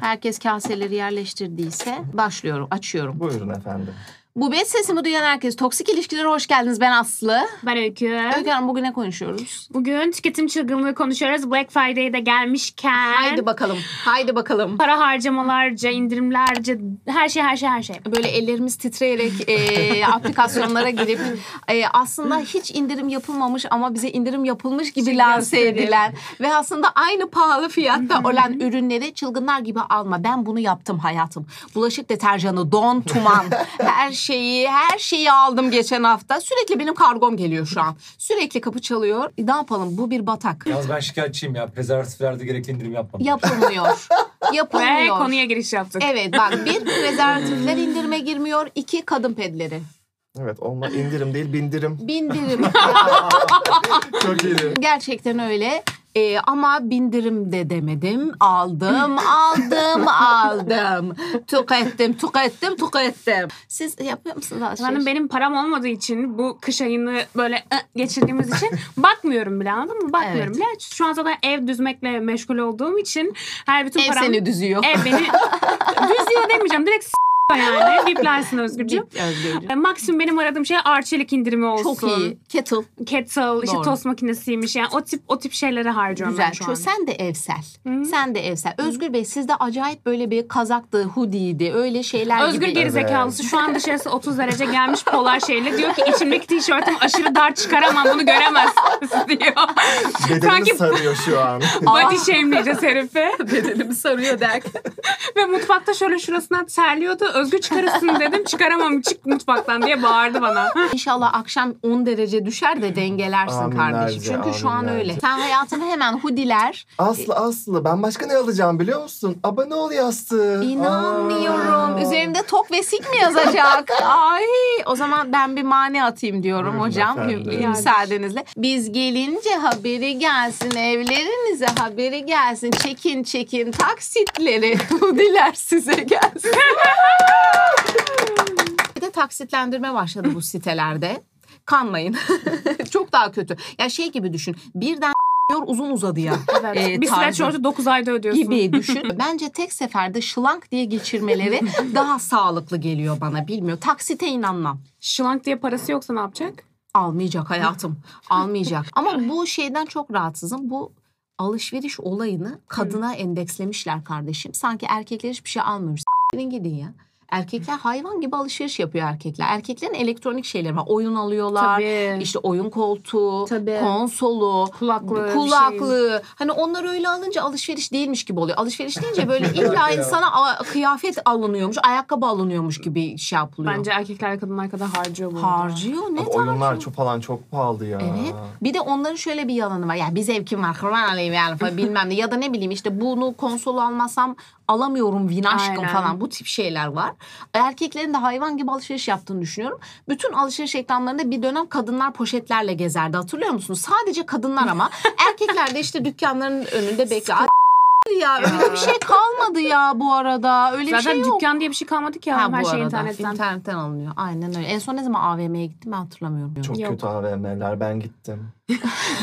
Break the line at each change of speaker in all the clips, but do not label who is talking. Herkes kaseleri yerleştirdiyse başlıyorum, açıyorum.
Buyurun efendim.
Bu bet sesimi duyan herkes. Toksik ilişkilere hoş geldiniz. Ben Aslı.
Ben Öykü.
Öykü Hanım bugün ne konuşuyoruz?
Bugün tüketim çılgınlığı konuşuyoruz. Black Friday'de gelmişken
Haydi bakalım. Haydi bakalım.
para harcamalarca, indirimlerce her şey her şey her şey.
Böyle ellerimiz titreyerek e, aplikasyonlara girip e, aslında hiç indirim yapılmamış ama bize indirim yapılmış gibi lanse
gösterelim.
edilen ve aslında aynı pahalı fiyatta olan ürünleri çılgınlar gibi alma. Ben bunu yaptım hayatım. Bulaşık deterjanı, don, tuman, her şeyi, her şeyi aldım geçen hafta. Sürekli benim kargom geliyor şu an. Sürekli kapı çalıyor. E, ne yapalım? Bu bir batak.
Yalnız ben şikayetçiyim ya. Prezervatiflerde gerekli indirim yapmam.
Yapılmıyor. Yapılmıyor.
Ve konuya giriş yaptık.
Evet bak bir prezervatifler indirime girmiyor. iki kadın pedleri.
Evet olma indirim değil bindirim.
Bindirim.
Çok iyi.
Gerçekten öyle. Ee, ama bindirim de demedim. Aldım, aldım, aldım. Tükettim, tükettim, tükettim. Siz yapıyor musunuz
Efendim
alışveriş?
benim param olmadığı için bu kış ayını böyle ı, geçirdiğimiz için bakmıyorum bile anladın mı? Bakmıyorum
Evet.
bile. Şu an zaten ev düzmekle meşgul olduğum için her bütün
Ev
param...
seni düzüyor.
Ev beni düzüyor demeyeceğim. Direkt s- yani. Biplersin Özgürcüğüm.
Özgürcüğüm.
E, Maksimum benim aradığım şey arçelik indirimi olsun.
Çok iyi. Kettle
kettle, işte
Doğru.
tost makinesiymiş. Yani o tip o tip şeylere harcıyorum ben
güzel.
şu
Çünkü
an.
sen de evsel. Sen de evsel. Özgür Bey sizde acayip böyle bir kazaktı, hoodie'ydi. Öyle şeyler
Özgür
gibi.
gerizekalısı şu an dışarısı 30 derece gelmiş polar şeyle diyor ki içimdeki tişörtüm aşırı dar çıkaramam bunu göremezsiniz diyor.
Bedenini
Sanki-
sarıyor şu an.
Body shameleyeceğiz herifi.
Bedenimi sarıyor derken.
Ve mutfakta şöyle şurasından terliyordu. Özgür çıkarırsın dedim çıkaramam çık mutfaktan diye bağırdı bana.
İnşallah akşam 10 derece düşer de dengelersin
Aminlerce,
kardeşim. Çünkü şu an
aminlerce.
öyle. Sen hayatını hemen hoodiler,
Aslı Aslı ben başka ne alacağım biliyor musun? Abone ol yastığı.
İnanmıyorum.
Aa.
Üzerimde tok ve sik mi yazacak? Ay, o zaman ben bir mani atayım diyorum
Buyurun
hocam
efendim.
mü- müsaadenizle. Biz gelince haberi gelsin evlerinize haberi gelsin. Çekin çekin taksitleri. Diler size gelsin. bir de taksitlendirme başladı bu sitelerde. Kanmayın. Çok daha kötü. Ya şey gibi düşün. Birden uzun uzadıya.
Evet.
Ee,
bir
tarzı.
sweatshirt'ü 9 ayda ödüyorsun.
gibi düşün. Bence tek seferde şılank diye geçirmeleri daha sağlıklı geliyor bana bilmiyor. Taksite inanmam.
Şılank diye parası yoksa ne yapacak?
Almayacak hayatım. Almayacak. Ama bu şeyden çok rahatsızım. Bu alışveriş olayını kadına endekslemişler kardeşim. Sanki erkekler hiçbir şey almıyor. S**tin gidin ya. Erkekler hayvan gibi alışveriş yapıyor erkekler. Erkeklerin elektronik şeyleri var. Oyun alıyorlar.
Tabii.
İşte oyun koltuğu,
Tabii.
konsolu,
Kulaklığı, şey.
kulaklığı. Hani onlar öyle alınca alışveriş değilmiş gibi oluyor. Alışveriş deyince böyle illa insana a- kıyafet alınıyormuş, ayakkabı alınıyormuş gibi şey yapılıyor.
Bence erkekler kadınlar kadar harcıyor bu. arada.
harcıyor ne
Abi
tarz?
oyunlar çok falan çok pahalı ya.
Evet. Bir de onların şöyle bir yalanı var. Ya bir zevkim var. Kurban alayım yani falan bilmem ne. Ya da ne bileyim işte bunu konsol almasam alamıyorum vin aşkım
Aynen.
falan. Bu tip şeyler var. Erkeklerin de hayvan gibi alışveriş yaptığını düşünüyorum. Bütün alışveriş reklamlarında bir dönem kadınlar poşetlerle gezerdi. Hatırlıyor musunuz? Sadece kadınlar ama. Erkekler de işte dükkanların önünde bekler. Ay, ya öyle bir şey kalmadı ya bu arada. Öyle bir
Zaten
şey yok.
dükkan diye bir şey kalmadı ki
Ha,
her
bu
şey
arada.
internetten.
İnternetten alınıyor. Aynen öyle. En son ne zaman AVM'ye gittim ben hatırlamıyorum.
Çok
Yok.
kötü AVM'ler ben gittim.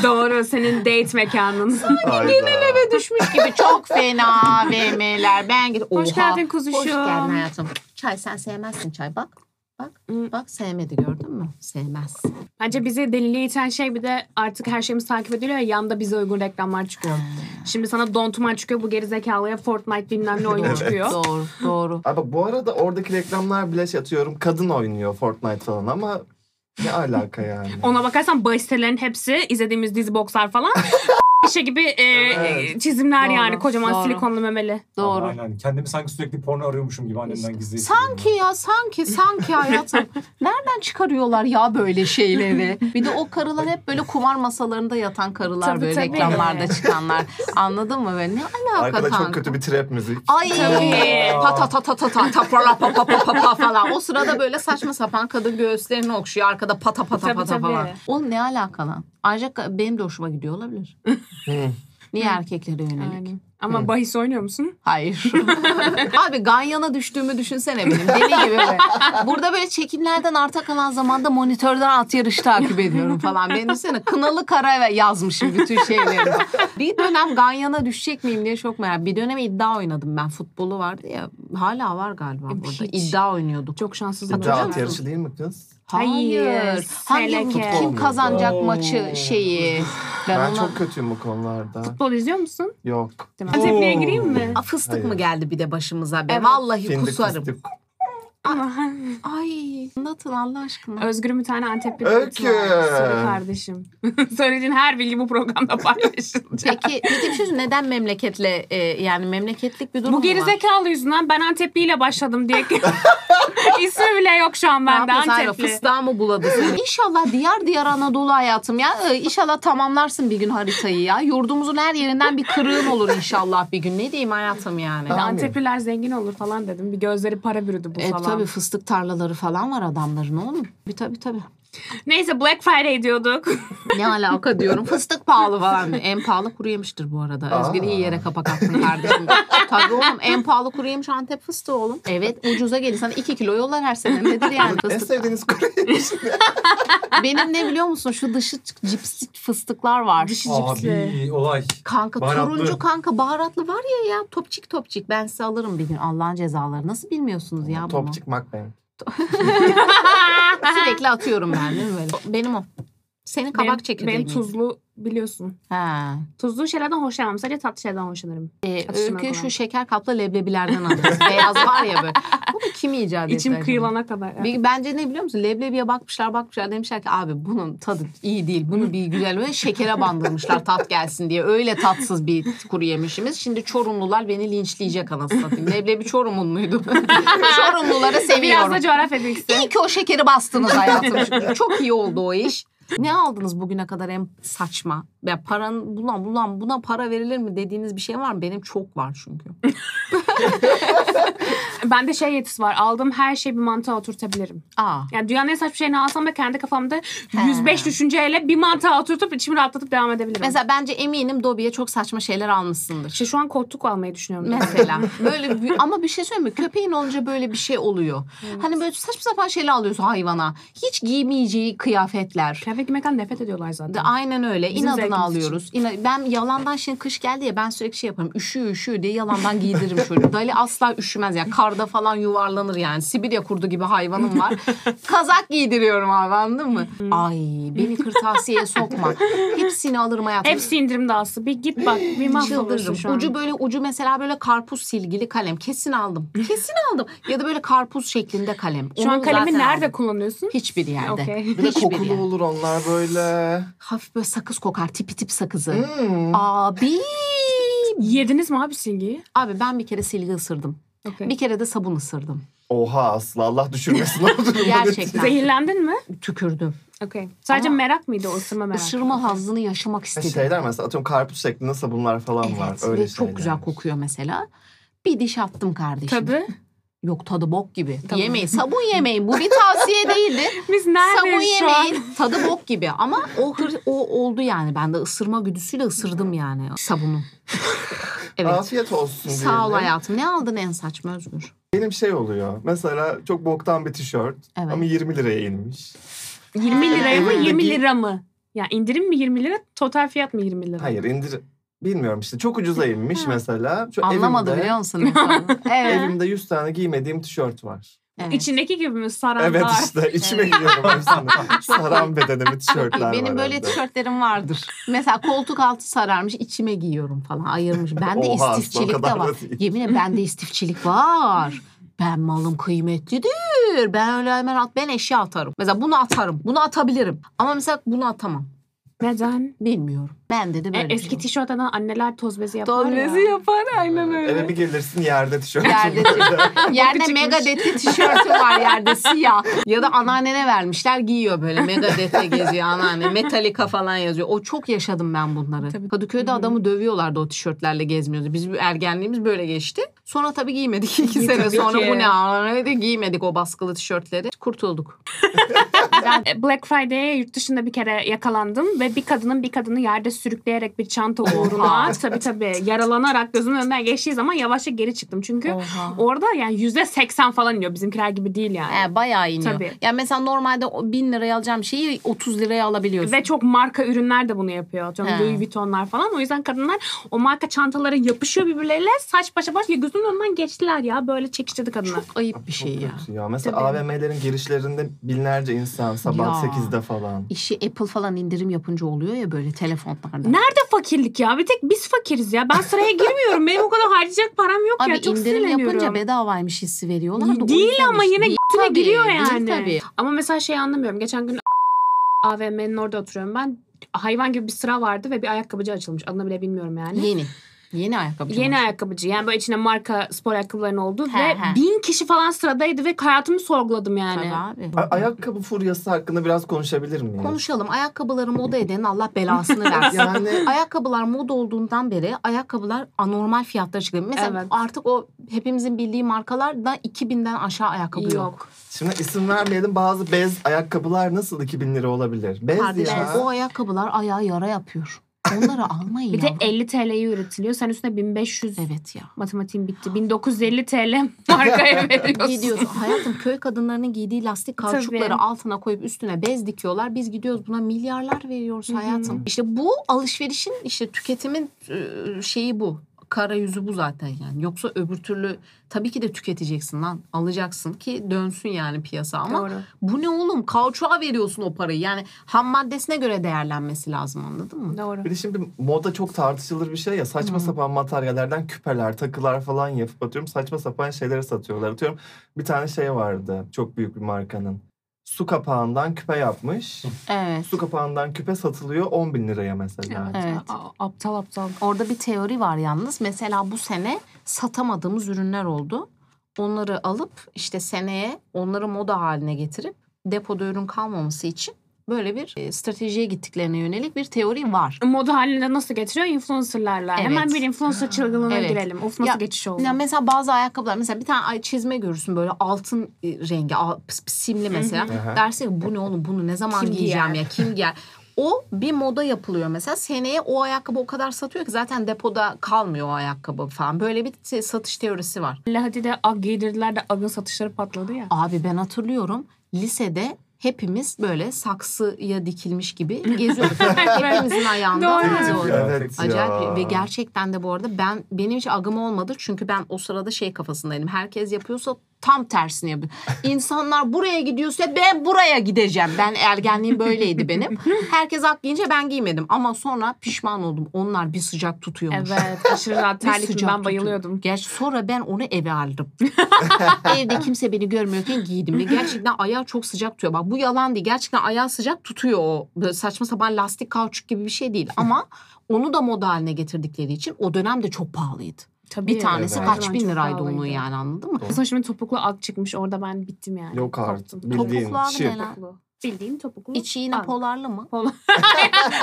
Doğru senin date mekanın.
Genel evet.
düşmüş gibi çok fena AVM'ler. Ben gidip
Hoş
Oha,
geldin kuzuşum.
Hoş geldin hayatım. Çay sen sevmezsin çay bak. Bak
Hmm.
bak sevmedi gördün mü? Sevmez.
Bence bizi deliliğe iten şey bir de artık her şeyimiz takip ediliyor ya yanda bize uygun reklamlar çıkıyor.
Hmm.
Şimdi sana Don Tuman çıkıyor bu gerizekalıya Fortnite bilmem ne oyunu çıkıyor.
Doğru doğru.
Abi bu arada oradaki reklamlar bile şey atıyorum kadın oynuyor Fortnite falan ama ne alaka yani.
Ona bakarsan bahis sitelerin hepsi izlediğimiz dizi bokslar falan. şey gibi e,
Evet.
e, çizimler
Doğru,
yani kocaman
doğru.
silikonlu memeli.
Doğru.
Aynen. Kendimi sanki sürekli porno arıyormuşum gibi annemden gizli. hissediyorum.
Sanki ya sanki sanki hayatım. Nereden çıkarıyorlar ya böyle şeyleri? Bir de o karılar hep böyle kumar masalarında yatan karılar
Tabii,
böyle
tabii.
reklamlarda çıkanlar. Anladın mı? Böyle ne alaka
Arkada
kanka?
çok kötü bir trap müzik.
Ay
Tabii.
pata ta ta ta ta ta para pa pa pa pa pa falan. O sırada böyle saçma sapan kadın göğüslerini okşuyor arkada pata pata
Tabii,
pata
tabii.
falan. Oğlum ne alaka lan? Ayrıca benim de hoşuma gidiyor olabilir.
Hı.
Niye erkeklere yönelik?
Aynen. Ama bahis oynuyor musun?
Hayır. Abi Ganyan'a düştüğümü düşünsene benim. Deli gibi. be. Burada böyle çekimlerden arta kalan zamanda monitörden at yarışı takip ediyorum falan. Ben düşünsene kınalı kara ve yazmışım bütün şeyleri. bir dönem Ganyan'a düşecek miyim diye çok merak. Bir dönem iddia oynadım ben. Futbolu vardı ya. Hala var galiba
Hiç.
burada. İddia oynuyorduk.
Çok
İddia
şanssızım.
Hatırlıyor
at
musun?
yarışı değil mi kız?
Hayır.
Hayır,
Hangi
seleke.
fut- kim kazanacak
Oo.
maçı şeyi?
Ben,
ona-
çok kötüyüm bu konularda.
Futbol izliyor musun?
Yok.
Değil mi? Tepkiye gireyim mi?
Aa, fıstık
Hayır.
mı geldi bir de başımıza be?
Evet.
Vallahi
Fındık
kusarım.
fıstık.
Ay anlatın Allah aşkına.
Özgür'ün bir tane Antepli
Öykü.
Öykü. Sarı kardeşim. Söylediğin her bilgi bu programda paylaşılacak.
Peki, peki bir şey söyleyeyim. neden memleketle e, yani memleketlik bir durum mu
Bu
var?
gerizekalı yüzünden ben Antepli'yle başladım diye. İsmi bile yok şu an
Ne
bende
yapıyorsun Ayla?
Antepli.
Fıstığa mı buladı seni? İnşallah diyar diyar Anadolu hayatım ya. Ee, İnşallah tamamlarsın bir gün haritayı ya. Yurdumuzun her yerinden bir kırığın olur inşallah bir gün. Ne diyeyim hayatım yani.
Tamam.
Hani Antepliler zengin olur falan dedim. Bir gözleri para bürüdü bu
E
falan.
tabii fıstık tarlaları falan var adamların oğlum. Bir tabii tabii.
Neyse Black Friday diyorduk.
Ne alaka diyorum. Fıstık pahalı falan. En pahalı kuru yemiştir bu arada.
Aa.
Özgür iyi yere kapak attın kardeşim. Tabii oğlum en pahalı kuru yemiş Antep fıstığı oğlum. Evet ucuza gelir. Sana 2 kilo yollar her sene. Nedir yani
En
fıstık?
sevdiğiniz kurye.
Benim ne biliyor musun? Şu dışı çık- cipslik fıstıklar var.
Dışı cipsli.
Abi olay.
Kanka
Baharatlı.
turuncu kanka baharatlı var ya ya topçik topçik ben size alırım bir gün Allah'ın cezaları nasıl bilmiyorsunuz ya bunu
Top çıkmak benim.
sürekli atıyorum ben değil mi böyle benim o senin kabak
Benim-
çekirdeğin
Benim tuzlu biliyorsun.
ha.
Tuzlu şeylerden hoşlanmam. Sadece tatlı şeylerden hoşlanırım.
Ee,
Atıştırmalık
öykü
olan.
şu şeker kaplı leblebilerden alırız beyaz var ya böyle bunu kim icat etti
İçim
acaba?
kıyılana kadar. Evet.
Bir- Bence ne biliyor musun? Leblebiye bakmışlar bakmışlar demişler ki abi bunun tadı iyi değil. Bunu bir güzel böyle şekere bandırmışlar tat gelsin diye. Öyle tatsız bir kuru yemişimiz. Şimdi Çorumlular beni linçleyecek anasını satayım. Leblebi Çorumun muydu? Çorumluları
Biraz
seviyorum.
da coğrafya bilgisi.
iyi ki o şekeri bastınız hayatım. Çok iyi oldu o iş. Ne aldınız bugüne kadar en saçma? Ya paranın bulan bulan buna para verilir mi dediğiniz bir şey var mı? Benim çok var çünkü.
Bende şey yetisi var. Aldığım her şeyi bir mantığa oturtabilirim.
Aa.
Yani dünyanın en saçma şeyini alsam da kendi kafamda 105 düşünceyle bir mantığa oturtup içimi rahatlatıp devam edebilirim. Mesela
Mesela bence eminim Dobi'ye çok saçma şeyler almışsındır.
işte şu an koltuk almayı düşünüyorum.
Mesela böyle bir- ama bir şey söyleyeyim mi? Köpeğin olunca böyle bir şey oluyor. Hani böyle saçma sapan şeyler alıyorsun hayvana. Hiç giymeyeceği kıyafetler.
Kıyafet giymekten nefret ediyorlar zaten.
De aynen öyle.
Bizim
İnadına
zevkimiz
alıyoruz. İna- ben yalandan şimdi kış geldi ya ben sürekli şey yaparım. Üşüyor üşüyor diye yalandan giydiririm çocuğu. Dali asla üşümez ya. Karda falan yuvarlanır yani. Sibirya kurdu gibi hayvanım var. Kazak giydiriyorum abi anladın mı?
Hmm.
Ay beni kırtasiyeye sokma. Hepsini alırım hayatım.
Hepsi indirim dağısı. Bir git bak. Bir mahvolursun şu
Çıldırırım.
an.
Ucu böyle ucu mesela böyle karpuz silgili kalem. Kesin aldım. Kesin aldım. Ya da böyle karpuz şeklinde kalem.
şu an
Onu
kalemi
zaten
nerede
aldım.
kullanıyorsun?
Hiçbir yerde.
Okey.
Bir de
Hiçbir
kokulu
yerde.
olur onlar böyle.
Hafif böyle sakız kokar. Tipi tip sakızı.
Hmm.
Abi.
Yediniz mi abi silgiyi?
Abi ben bir kere silgi ısırdım.
Okay.
Bir kere de sabun ısırdım.
Oha asla Allah düşürmesin o durumu.
Gerçekten.
Zehirlendin mi?
Tükürdüm.
Okay. Sadece
Ama-
merak mıydı o ısırma merak?
Isırma hazzını yaşamak istedim.
Şeyler mesela atıyorum karpuz şeklinde sabunlar falan var.
evet.
Öyle
ve çok
şeyler.
güzel kokuyor mesela. Bir diş attım kardeşim.
Tabii.
Yok tadı bok gibi.
Tamam.
Yemeyin. Sabun yemeyin. Bu bir tavsiye değildi.
Biz
Sabun
neredeyiz şu an?
yemeğin tadı bok gibi ama o hır, o oldu yani. Ben de ısırma güdüsüyle ısırdım yani sabunu. Evet.
Afiyet olsun diyelim.
Sağ ol hayatım. Ne aldın en saçma Özgür?
Benim şey oluyor. Mesela çok boktan bir tişört
Evet.
ama 20 liraya inmiş.
20 liraya mı
Evet.
20 lira mı? Ya indirim mi 20 lira total fiyat mı 20 lira?
Hayır indir bilmiyorum işte çok ucuza inmiş mesela. Şu
Anlamadı
evimde,
biliyor musun? ne sorduğunu? evet.
Evimde 100 tane giymediğim tişört var.
evet.
İçindeki gibi mi saranlar?
Evet işte içime giyiyorum hepsini. Saran bedenimi tişörtler var.
Benim böyle
evde.
tişörtlerim vardır. Mesela koltuk altı sararmış içime giyiyorum falan ayırmış. Bende
Oha, aslında o
istifçilik
kadar
de var.
da değil.
Yemin ederim bende istifçilik var. Ben malım kıymetlidir. Ben öyle hemen at ben eşya atarım. Mesela bunu atarım. Bunu atabilirim. Ama mesela bunu atamam.
Neden?
Bilmiyorum. Bende de
E,
böyle bir
eski
şey var.
tişörtten anneler toz bezi yapar
Toz
ya.
bezi
yapar aynen
Eve bir gelirsin yerde tişört.
Yerde Yerde
Çıkmış.
Megadeth'li
şey.
tişörtü var yerde siyah. Ya da anneannene vermişler giyiyor böyle Megadeth'le geziyor anneanne. Metallica falan yazıyor. O çok yaşadım ben bunları.
Tabii.
Kadıköy'de adamı dövüyorlardı o tişörtlerle gezmiyordu. Biz ergenliğimiz böyle geçti. Sonra tabii giymedik iki sene
Tabii
sonra
ki.
bu ne dedi giymedik o baskılı tişörtleri. Kurtulduk.
Ben e, Black Friday'e yurt dışında bir kere yakalandım ve bir kadının bir kadını yerde sürükleyerek bir çanta uğruna tabii tabii yaralanarak gözümün önünden geçtiği zaman yavaşça geri çıktım. Çünkü
Oha.
orada yani yüzde seksen falan iniyor bizimkiler gibi değil yani.
Ee, bayağı iniyor.
Tabii.
Yani mesela normalde o 1000 liraya alacağım şeyi 30 liraya alabiliyorsun.
Ve çok marka ürünler de bunu yapıyor. Atıyorum
He.
Louis Vuitton'lar falan. O yüzden kadınlar o marka çantaları yapışıyor birbirleriyle. Saç başa baş. Ya gözümün önünden geçtiler ya. Böyle çekiştirdi kadınlar.
Ayıp bir şey ya.
Ya. Mesela
Tabii.
AVM'lerin girişlerinde binlerce insan sabah
Ya.
8'de falan.
İşi Apple falan indirim yapınca oluyor ya böyle telefonlarda.
Nerede fakirlik ya? Bir tek biz fakiriz ya. Ben sıraya girmiyorum. Benim o kadar harcayacak param yok
Abi
ya. Çok
indirim yapınca
sinirleniyorum.
bedavaymış hissi veriyorlar. da o
Değil
yüzden
ama
işte.
yine
Değil
g***üne
tabii,
giriyor
değil
yani.
tabii.
Ama mesela şey anlamıyorum. Geçen gün AVM'nin orada oturuyorum ben. Hayvan gibi bir sıra vardı ve bir ayakkabıcı açılmış. Adını bile bilmiyorum yani.
Yeni. Yeni ayakkabı.
Yeni
çamaşır.
ayakkabıcı. Yani böyle içine marka spor ayakkabıların olduğu
He,
ve
he.
bin kişi falan sıradaydı ve hayatımı sorguladım yani.
Tabii abi.
A- ayakkabı furyası hakkında biraz konuşabilir miyiz?
Konuşalım. Ayakkabıları moda edenin Allah belasını versin.
Yani
ayakkabılar moda olduğundan beri ayakkabılar anormal fiyatlara çıkıyor. Mesela
Evet.
artık o hepimizin bildiği markalarda 2000'den aşağı ayakkabı yok.
Yok.
şimdi isim vermeyelim bazı bez ayakkabılar nasıl 2000 lira olabilir? Bez
Kardeşim
ya.
o ayakkabılar ayağa yara yapıyor. Onları almayın
Bir de
yavrum.
50 TL'ye üretiliyor. Sen üstüne 1500
Evet ya.
matematiğim bitti. 1950 TL markaya veriyorsun.
Gidiyorsun. Hayatım köy kadınlarının giydiği lastik
Tabii.
kauçukları altına koyup üstüne bez dikiyorlar. Biz gidiyoruz buna milyarlar veriyoruz
Hı hı.
hayatım. İşte bu alışverişin işte tüketimin e, şeyi bu. Kara yüzü bu zaten yani. Yoksa öbür türlü tabii ki de tüketeceksin lan. Alacaksın ki dönsün yani piyasa ama
Doğru.
bu ne oğlum? Kauçuğa veriyorsun o parayı. Yani ham maddesine göre değerlenmesi lazım anladın mı?
Doğru.
Bir de şimdi moda çok tartışılır bir şey ya. Saçma
Hmm.
sapan materyallerden küpeler, takılar falan yapıp atıyorum. Saçma sapan şeylere satıyorlar. Atıyorum bir tane şey vardı çok büyük bir markanın. Su kapağından küpe yapmış.
Evet.
Su kapağından küpe satılıyor 10 bin liraya mesela.
Evet.
A- aptal aptal.
Orada bir teori var yalnız. Mesela bu sene satamadığımız ürünler oldu. Onları alıp işte seneye onları moda haline getirip depoda ürün kalmaması için böyle bir e, stratejiye gittiklerine yönelik bir teori var.
Moda haline nasıl getiriyor? İnfluencerlarla.
Evet.
Hemen bir influencer çılgınlığına
Evet.
girelim. Of nasıl
Ya,
geçiş oldu.
Ya mesela bazı ayakkabılar mesela bir tane ay- çizme görürsün böyle altın e, rengi al- pıs- pıs- simli mesela.
Aha.
Dersin ki bu ne oğlum bunu ne zaman
Kim
giyeceğim
giyer?
ya kim giyer. O bir moda yapılıyor mesela. Seneye o ayakkabı o kadar satıyor ki zaten depoda kalmıyor o ayakkabı falan. Böyle bir te- satış teorisi var.
Lahadi'de Ag giydirdiler de Ag'ın satışları patladı ya.
Abi ben hatırlıyorum lisede hepimiz böyle saksıya dikilmiş gibi geziyorduk. Hepimizin ayağında.
Doğru.
Doğru.
Ya,
Evet
Acayip
ya.
ve gerçekten de bu arada ben benim hiç agım olmadı çünkü ben o sırada şey kafasındaydım. Herkes yapıyorsa tam tersini yapıyor. İnsanlar buraya gidiyorsa ben buraya gideceğim. Ben ergenliğim böyleydi benim. Herkes ak giyince ben giymedim ama sonra pişman oldum. Onlar bir sıcak tutuyormuş.
Evet aşırı rahat
Bir
terlik
sıcak
ben bayılıyordum.
tutuyor. Gerçi sonra ben onu eve aldım. Evde kimse beni görmüyorken giydim. Ve gerçekten ayağı çok sıcak tutuyor. Bak bu yalan değil. Gerçekten ayağı sıcak tutuyor o. Böyle saçma sapan lastik kauçuk gibi bir şey değil. Ama onu da moda haline getirdikleri için o dönemde çok pahalıydı.
Tabii.
Bir tanesi
Evet.
kaç
Çok
bin liraydı
pahalıydı.
onun yani anladın mı?
Sonra şimdi topuklu Ag çıkmış orada ben bittim yani.
Yok artık.
Koptum.
Bildiğin
Topuklu abi
şıp.
ne lan?
Topuklu. Bildiğin topuklu.
İçi yine
Ag.
polarlı mı?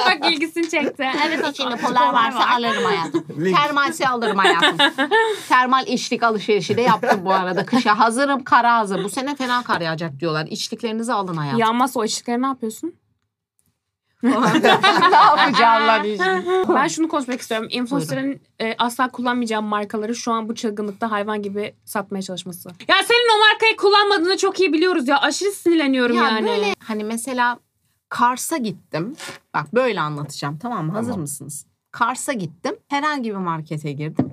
Bak ilgisini çekti. Evet
İçinde polar varsa alırım hayatım. Termalsi alırım hayatım. Termal içlik alışverişi de yaptım bu arada. Kışa hazırım, kara hazır. Bu sene fena kar yağacak diyorlar. İçliklerinizi alın hayatım.
Yanmazsa o içlikleri ne yapıyorsun?
ne yapacağım lan içlik?
Ben şunu konuşmak istiyorum. Influencer'ın e, asla kullanmayacağım markaları şu an bu çılgınlıkta hayvan gibi satmaya çalışması. Ya senin o markayı kullanmadığını çok iyi biliyoruz ya. Aşırı sinirleniyorum
Ya
yani.
böyle hani mesela Kars'a gittim. Bak böyle anlatacağım tamam mı? Hazır
Tamam.
mısınız? Kars'a gittim. Herhangi bir markete girdim.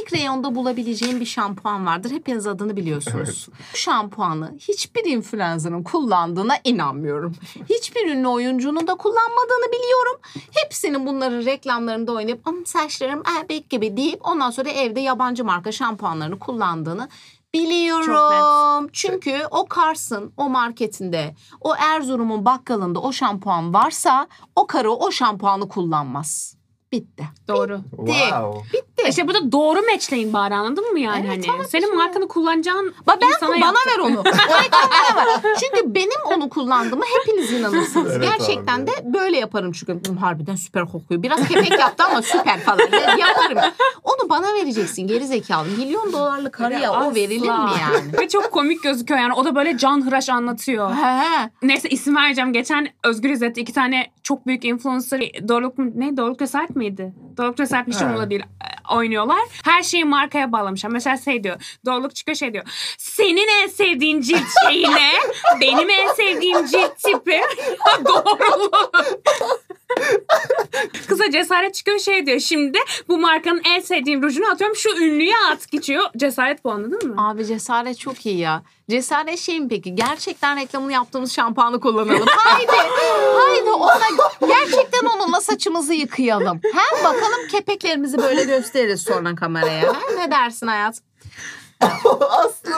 İlk reyonda bulabileceğim bir şampuan vardır. Hepiniz adını biliyorsunuz. Bu şampuanı hiçbir influencer'ın kullandığına inanmıyorum. Hiçbir ünlü oyuncunun da kullanmadığını biliyorum. Hepsinin bunların reklamlarında oynayıp "Am, saçlarım erbek gibi deyip ondan sonra evde yabancı marka şampuanlarını kullandığını biliyorum. Çünkü o Kars'ın o marketinde o Erzurum'un bakkalında o şampuan varsa o karı o şampuanı kullanmaz. Bitti.
Doğru.
Wow.
Bitti.
İşte burada doğru meçleyin bari anladın mı yani?
Evet,
hani?
tamam,
Senin
şimdi-
markanı kullanacağın
Ba- ben
insana
bana
yaptır.
ver onu. O reklamı bana ver. Çünkü benim onu kullandığımı hepiniz inanırsınız.
Evet
Gerçekten
abi.
de böyle yaparım çünkü "Hmm, harbiden süper kokuyor. Biraz kepek yaptı ama süper falan. Ya- Yaparım. Onu bana vereceksin geri zekalı. Milyon dolarlık karıya o
Asla.
verilir mi yani?
Ve çok komik gözüküyor yani. O da böyle canhıraş anlatıyor.
He.
Neyse isim vereceğim. Geçen Özgür İzzet'te iki tane çok büyük influencer Doruk mu- ne Doruk Cesaret miydi? Doruk Cesaret hiç
Ha.
umurumda değil e, oynuyorlar. Her şeyi markaya bağlamışlar. Mesela şey diyor. Doruk çıkıyor şey diyor. Senin en sevdiğin cilt şeyi ne? Benim en sevdiğim cilt tipi. Doğruluğu. Kıza cesaret çıkıyor şey diyor. Şimdi bu markanın en sevdiğim rujunu atıyorum. Şu ünlüye at geçiyor. Cesaret bu anladın mı?
Abi cesaret çok iyi ya. Cesaret şey mi peki? Gerçekten reklamını yaptığımız şampuanı kullanalım. Haydi. haydi ona gerçekten onunla saçımızı yıkayalım. Hem bakalım kepeklerimizi böyle gösteririz sonra kameraya. Ha, Ne dersin hayat?
Aslı.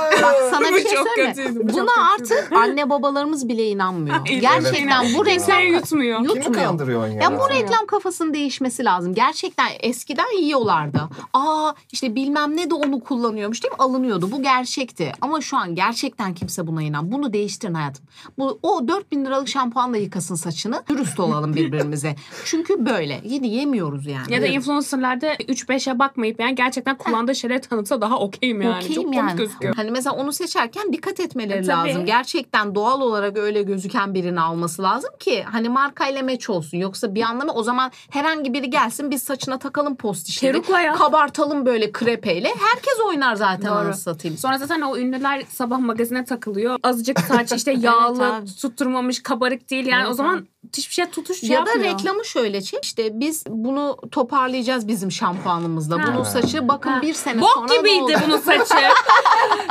Sana
Bu
bir şey
çok
söyleyeyim
kötüydü,
mi?
bu çok
Buna artık anne babalarımız bile inanmıyor.
Evet.
Gerçekten bu
Sen
reklam
yutmuyor.
Kimi
yutmuyor.
kandırıyorsun ya?
Ya bu reklam kafasının değişmesi lazım. Gerçekten eskiden yiyorlardı. Aa işte bilmem ne de onu kullanıyormuş değil mi? Alınıyordu. Bu gerçekti. Ama şu an gerçekten kimse buna inan. Bunu değiştirin hayatım. Bu, o 4000 liralık şampuanla yıkasın saçını. Dürüst olalım birbirimize. Çünkü böyle. Yedi yemiyoruz yani.
Ya da influencerlarda 3-5'e bakmayıp yani gerçekten kullandığı şeyleri tanıtsa daha okeyim yani.
Okeyim
Çok komik gözüküyor.
Hani mesela onu seçerken dikkat etmeleri
E, tabii.
lazım. Gerçekten doğal olarak öyle gözüken birini alması lazım ki hani markayla meç olsun. Yoksa bir anlamı o zaman herhangi biri gelsin biz saçına takalım post işleri.
Perukla ya.
Kabartalım böyle krepeyle. Herkes oynar zaten
Doğru.
anasını satayım.
Sonra zaten o ünlüler sabah magazine takılıyor. Azıcık saç işte yağlı,
abi.
tutturmamış, kabarık değil. Yani
Evet
o zaman hiçbir şey tutuş şey
ya da
yapmıyor.
reklamı şöyle çek. İşte biz bunu toparlayacağız bizim şampuanımızla.
Ha.
Bunun saçı bakın
Ha.
bir sene
Bok
sonra ne
gibiydi
oldu?
bunun saçı.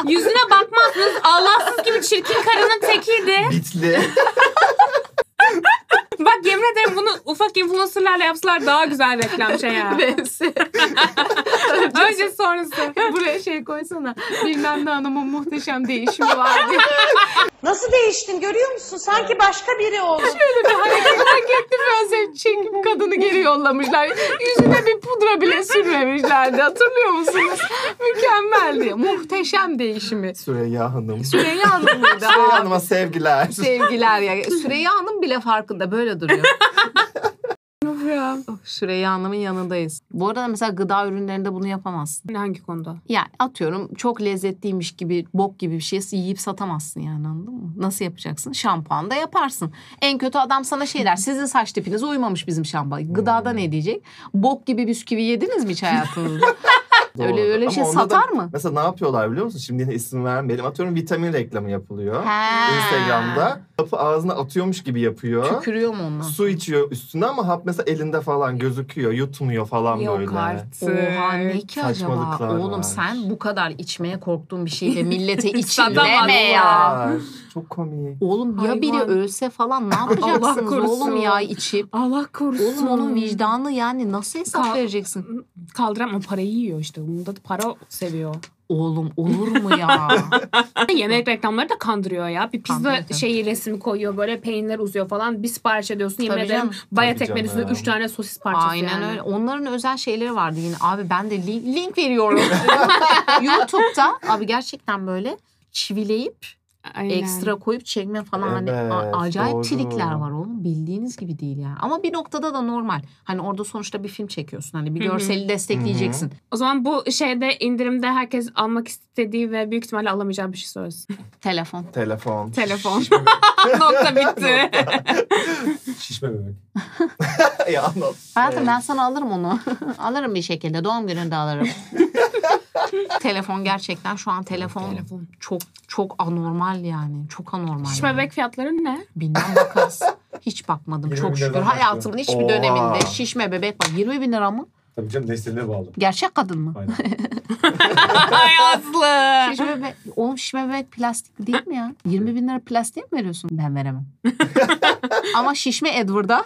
Yüzüne bakmazsınız. Allahsız gibi çirkin karının tekiydi.
Bitli.
Bak yemin ederim bunu ufak influencerlarla yapsalar daha güzel reklam şey ya.
Bensi.
Önce sonrası.
Buraya şey koysana. Bilmem ne hanımın muhteşem değişimi var diye.
Nasıl değiştin görüyor musun? Sanki başka biri oldun.
Hani Paketli fönse çekip kadını geri yollamışlar. Yüzüne bir pudra bile sürmemişlerdi. Hatırlıyor musunuz? Mükemmeldi. Muhteşem değişimi.
Süreyya Hanım.
Süreyya Hanım mıydı?
Süreyya
Aa,
Hanım'a sevgiler.
Sevgiler ya. Süreyya Hanım bile farkında böyle duruyor. Oh, Süreyya Hanım'ın yanındayız. Bu arada mesela gıda ürünlerinde bunu yapamazsın.
Hangi konuda?
Yani atıyorum çok lezzetliymiş gibi bok gibi bir şey yiyip satamazsın yani anladın mı? Nasıl yapacaksın? Şampuan da yaparsın. En kötü adam sana şey der. Sizin saç tipinize uymamış bizim
Hmm.
şampuan. Gıdada ne diyecek? Bok gibi bisküvi yediniz mi hiç hayatınızda? öyle
Doğru.
öyle bir şey
Ama onda da-
satar mı?
Mesela ne yapıyorlar biliyor musun? Şimdi yine isim vermeyelim. Atıyorum vitamin reklamı yapılıyor.
He.
Instagram'da. Hapı ağzına atıyormuş gibi yapıyor.
Tükürüyor mu onlar?
Su içiyor üstüne ama hap mesela elinde falan gözüküyor. Yutmuyor falan böyle.
Yok artık.
Oha ne ki acaba?
Saçmalıklar
Oğlum
var.
sen bu kadar içmeye korktuğun bir şeyi de millete
Satamazsın.
içirme ya.
Var. Çok komik.
Oğlum ya biri
Hayvan.
ölse falan ne
Allah
yapacaksınız
korusun.
oğlum ya içip?
Allah korusun.
Oğlum onun vicdanı yani nasıl hesap
Ka-
vereceksin?
Kaldıramam parayı yiyor işte. Bunda da para seviyor.
Oğlum olur mu ya?
Yemek reklamları da kandırıyor ya. Bir pizza
Kandırıyor tabii.
şeyi şey resmi koyuyor böyle peynir uzuyor falan. Bir sipariş ediyorsun yemin
Tabii
ederim.
canım.
Bayat
Tabii
ekmeğin
canım.
üstünde 3 tane sosis parçası
Aynen
yani.
öyle. Onların özel şeyleri vardı yine. Abi ben de link, link veriyorum. YouTube'da abi gerçekten böyle çivileyip
Aynen.
ekstra koyup çekme falan
Evet,
hani a- acayip
doğru.
trikler var oğlum bildiğiniz gibi değil yani. Ama bir noktada da normal. Hani orada sonuçta bir film çekiyorsun. Hani bir
Hı hı.
görseli destekleyeceksin.
O zaman bu şeyde indirimde herkes almak istediği ve büyük ihtimalle alamayacağı bir şey söylesin.
Telefon.
Telefon.
Telefon.
Şişme
Nokta bitti.
Şişme bebek.
bebek. ya anlat.
Hayatım ben sana alırım onu. alırım bir şekilde. Doğum gününde alırım. telefon gerçekten şu an telefon,
Telefon.
çok çok anormal yani. Çok anormal.
Şiş
yani.
bebek fiyatları ne?
Bilmem bakarız. Hiç bakmadım çok
Yirmi bin
şükür.
lira
Hayatımın hiçbir
Oha.
döneminde şişme bebek var. 20 bin lira mı?
Tabii canım nesline bağlı.
Gerçek kadın mı?
Aynen.
Ay Aslı.
Şişme bebek, oğlum şişme bebek plastik değil mi ya? 20 bin lira plastik mi veriyorsun? Ben veremem. Ama şişme Edward'a.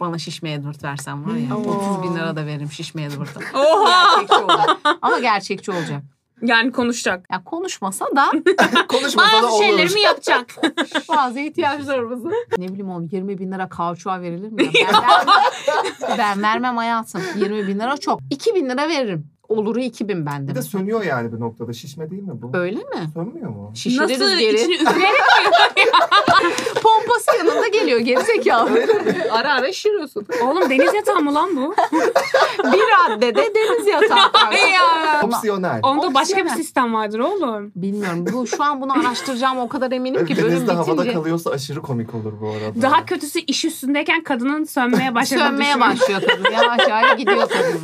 Bana şişme Edward versen var ya.
Oo.
30 bin lira da veririm şişme Edward'a.
Oha.
Gerçekçi olacak. Ama gerçekçi olacak.
Yani konuşacak.
Ya konuşmasa da
Konuşmasa da
bazı
olur.
şeylerimi yapacak. bazı ihtiyaçlarımızı. Ne bileyim oğlum 20 bin lira kauçuğa verilir mi? ya? Ben, vermem. ben vermem hayatım. 20 bin lira çok. 2 bin lira veririm. Oluru 2 bin bende.
Bir de sönüyor yani bir noktada. Şişme değil mi bu?
Öyle mi?
Sönmüyor mu?
Şişiririz
Nasıl
şey geri.
içini üfleyerek
Pompası yanında geliyor geri zekalı. ara ara şişiriyorsun.
Oğlum deniz yatağı mı lan bu?
Bir raddede deniz yatağı.
Ay ya.
Ama-
Opsiyonel.
Onda başka bir
Opsiyonel.
sistem vardır oğlum.
Bilmiyorum. Bu şu an bunu araştıracağım o kadar eminim ki bölüm
Denizde havada
bitince
kalıyorsa aşırı komik olur bu arada.
Daha kötüsü iş üstündeyken kadının sönmeye başladığını
sönmeye
düşünüyorum.
başlıyor kadın. Yavaş yavaş gidiyor kadın.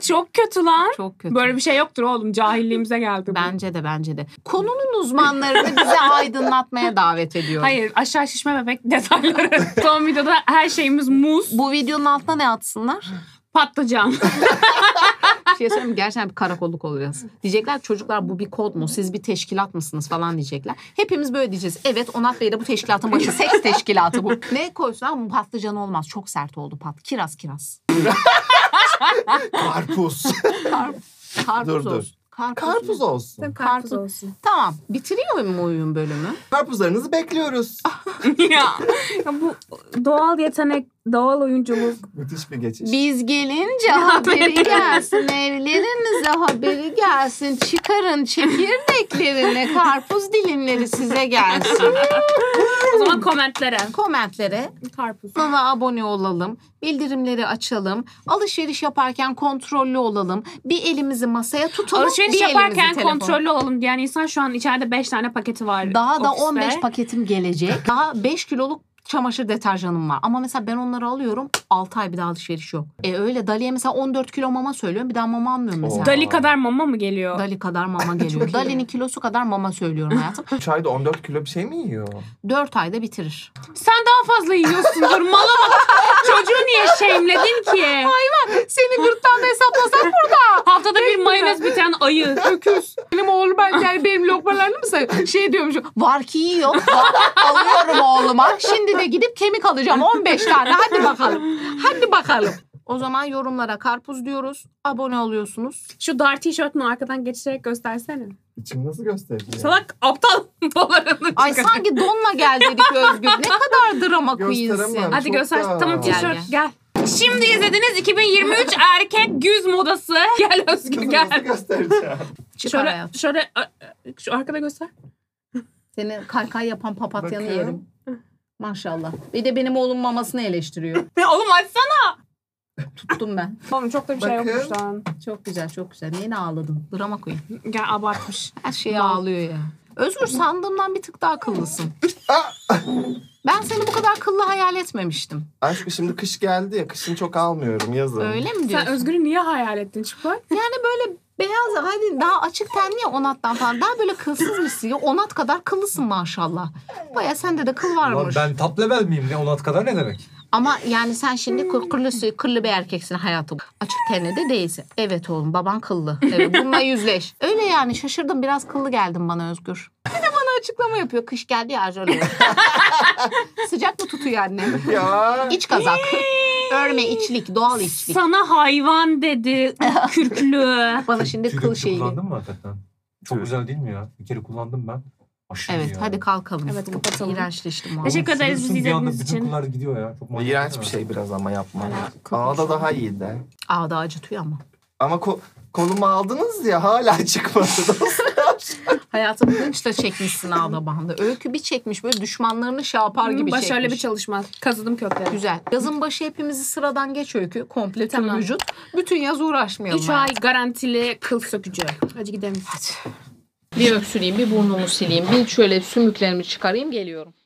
Çok kötü lan.
Çok kötü.
Böyle bir şey yoktur oğlum. Cahilliğimize geldi bu.
Bence de bence de. Konunun uzmanlarını bize aydınlatmaya davet ediyorum.
Hayır aşağı şişme bebek detayları. Son videoda her şeyimiz muz,
Bu videonun altına ne atsınlar?
patlıcan.
Bir şey söyleyeyim mi? Gerçekten bir karakolluk olacağız. Diyecekler ki, çocuklar bu bir kod mu? Siz bir teşkilat mısınız falan diyecekler. Hepimiz böyle diyeceğiz. Evet Onat Bey de bu teşkilatın başı. Seks teşkilatı bu. Ne koysun ama patlıcan olmaz. Çok sert oldu pat. Kiraz kiraz.
Karpuz.
Karpuz
Dur, dur.
olsun. Karpuz,
Karpuz
mu?
olsun.
Karpuz
olsun.
Tamam. Bitiriyor mu oyun bölümü?
Karpuzlarınızı bekliyoruz.
ya. ya bu doğal yetenek, doğal oyunculuk.
Müthiş bir geçiş.
Biz gelince haberi gelsin evlerinize haberi gelsin çıkarın çekirdeklerini karpuz dilimleri size gelsin.
O zaman komentlere.
Komentlere
Karpuz.
kanala abone olalım, bildirimleri açalım, alışveriş yaparken kontrollü olalım, bir elimizi masaya tutalım,
Alışveriş
bir elimizi
yaparken
telefona.
kontrollü olalım diyen insan şu an içeride 5 tane paketi var.
Daha da
ofiste.
15 paketim gelecek. Daha 5 kiloluk çamaşır deterjanım var. Ama mesela ben onları alıyorum 6 ay bir daha alışveriş yok. E öyle Dali'ye mesela 14 kilo mama söylüyorum bir daha mama almıyorum mesela.
Oo.
Dali kadar mama mı geliyor?
Dali kadar mama geliyor. Dali'nin kilosu kadar mama söylüyorum hayatım.
3 ayda 14 kilo bir şey mi yiyor?
4 ayda bitirir.
Sen daha fazla yiyorsundur. Mala bak. Çocuğu niye şeyimledin ki?
Seni gırttan da hesaplasak burada.
Haftada bir mayonez biten ayı.
Öküz. Benim oğlum ben yani benim lokmalarını mı sayıyor? Şey diyormuş. Var ki yiyor. Alıyorum oğluma. Şimdi de gidip kemik alacağım. 15 tane. Hadi bakalım. Hadi bakalım. O zaman yorumlara karpuz diyoruz. Abone oluyorsunuz.
Şu dar tişörtünü arkadan geçirerek göstersene.
İçim nasıl gösteriyor?
Salak aptal dolarını
Ay
çıkar.
sanki donla gel dedik Özgür. Ne kadar drama queensin.
Gösteremem.
Hadi
Çok
göster.
da-
Tamam
Gel,
tişört gel. Şimdi izlediniz 2023 erkek güz modası. Gel Özgür
Kızı
gel.
Nasıl göstereceğim?
Çıkar
Şöyle,
hayatım.
şöyle a- şu arkada göster.
Seni kaykay yapan papatyanı
Bakın.
yerim. Maşallah. Bir de benim oğlum mamasını eleştiriyor.
Oğlum açsana.
Tuttum ben.
Oğlum çok da bir şey
Bakın.
yokmuş lan.
Çok güzel çok güzel. Yine ağladım. Drama queen.
Gel abartmış.
Her şeye ağlıyor ya. Özgür sandığımdan bir tık daha akıllısın. ben seni bu kadar akıllı hayal etmemiştim.
Aşkım şimdi kış geldi ya. Kışın çok almıyorum yazın.
Öyle mi
Sen
diyorsun?
Özgür'ü niye hayal ettin Çıplak?
Beyaz hadi daha açık tenli ya Onat'tan falan. Daha böyle kılsız mısın ya? Onat kadar kıllısın maşallah. Baya sende de kıl
Ulan
varmış.
ben top level miyim ne? Onat kadar ne demek?
Ama yani sen şimdi kı- kırlı, kırlı bir erkeksin hayatım. Açık tenli de değilsin. Evet oğlum baban kıllı. Evet, bununla yüzleş. Öyle yani şaşırdım biraz kıllı geldin bana Özgür. Bir de bana açıklama yapıyor. Kış geldi ya şöyle. Sıcak mı tutuyor anne?
Ya.
İç kazak. Örme içlik, doğal içlik.
Sana hayvan dedi. Kürklü.
Bana şimdi
Tüy
kıl
dökücü
şeyi.
Kullandın mı hakikaten? Çok
Evet.
güzel değil mi ya? Bir kere kullandım ben. Aşırı
Evet
iyi ya.
hadi kalkalım.
Evet, kapatalım.
İğrençleştim valla.
Teşekkür ederiz
Sürüyorsun
bizi
bir anda
izlediğiniz için.
Bütün kıllar gidiyor ya. Çok manyak
İğrenç
değil
bir
mi?
şey biraz ama yapma.
Hala kokmuş.
Ağda daha iyiydi.
Ağda acıtıyor ama.
Ama ko- kolumu aldınız ya hala çıkmadı.
Hayatım hınç da çekmişsin ağda bandı. Öykü bir çekmiş böyle düşmanlarını şey yapar gibi
Başarılı
çekmiş.
bir çalışma. Kazıdım kökleri.
Güzel. Yazın başı hepimizi sıradan geç öykü. Komple tüm
Tamam.
vücut. Bütün yaz uğraşmayalım.
3
yani.
ay garantili kıl sökücü. Hadi gidelim.
Bir öksüreyim, bir burnumu sileyim, bir şöyle sümüklerimi çıkarayım geliyorum.